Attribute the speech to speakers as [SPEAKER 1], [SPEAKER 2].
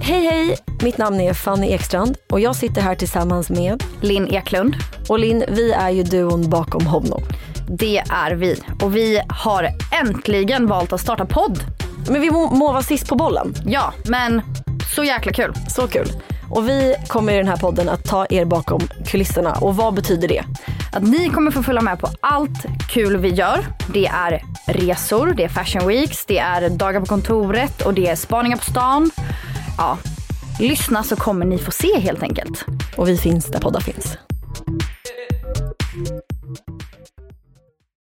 [SPEAKER 1] Hej hej! Mitt namn är Fanny Ekstrand och jag sitter här tillsammans med
[SPEAKER 2] Linn Eklund.
[SPEAKER 1] Och Linn, vi är ju duon bakom honom.
[SPEAKER 2] Det är vi. Och vi har äntligen valt att starta podd.
[SPEAKER 1] Men vi må, må vara sist på bollen.
[SPEAKER 2] Ja, men så jäkla kul.
[SPEAKER 1] Så kul. Och vi kommer i den här podden att ta er bakom kulisserna. Och vad betyder det?
[SPEAKER 2] Att ni kommer få följa med på allt kul vi gör. Det är resor, det är fashion weeks, det är dagar på kontoret och det är spaningar på stan. Ja, lyssna så kommer ni få se helt enkelt.
[SPEAKER 1] Och vi finns där poddar finns.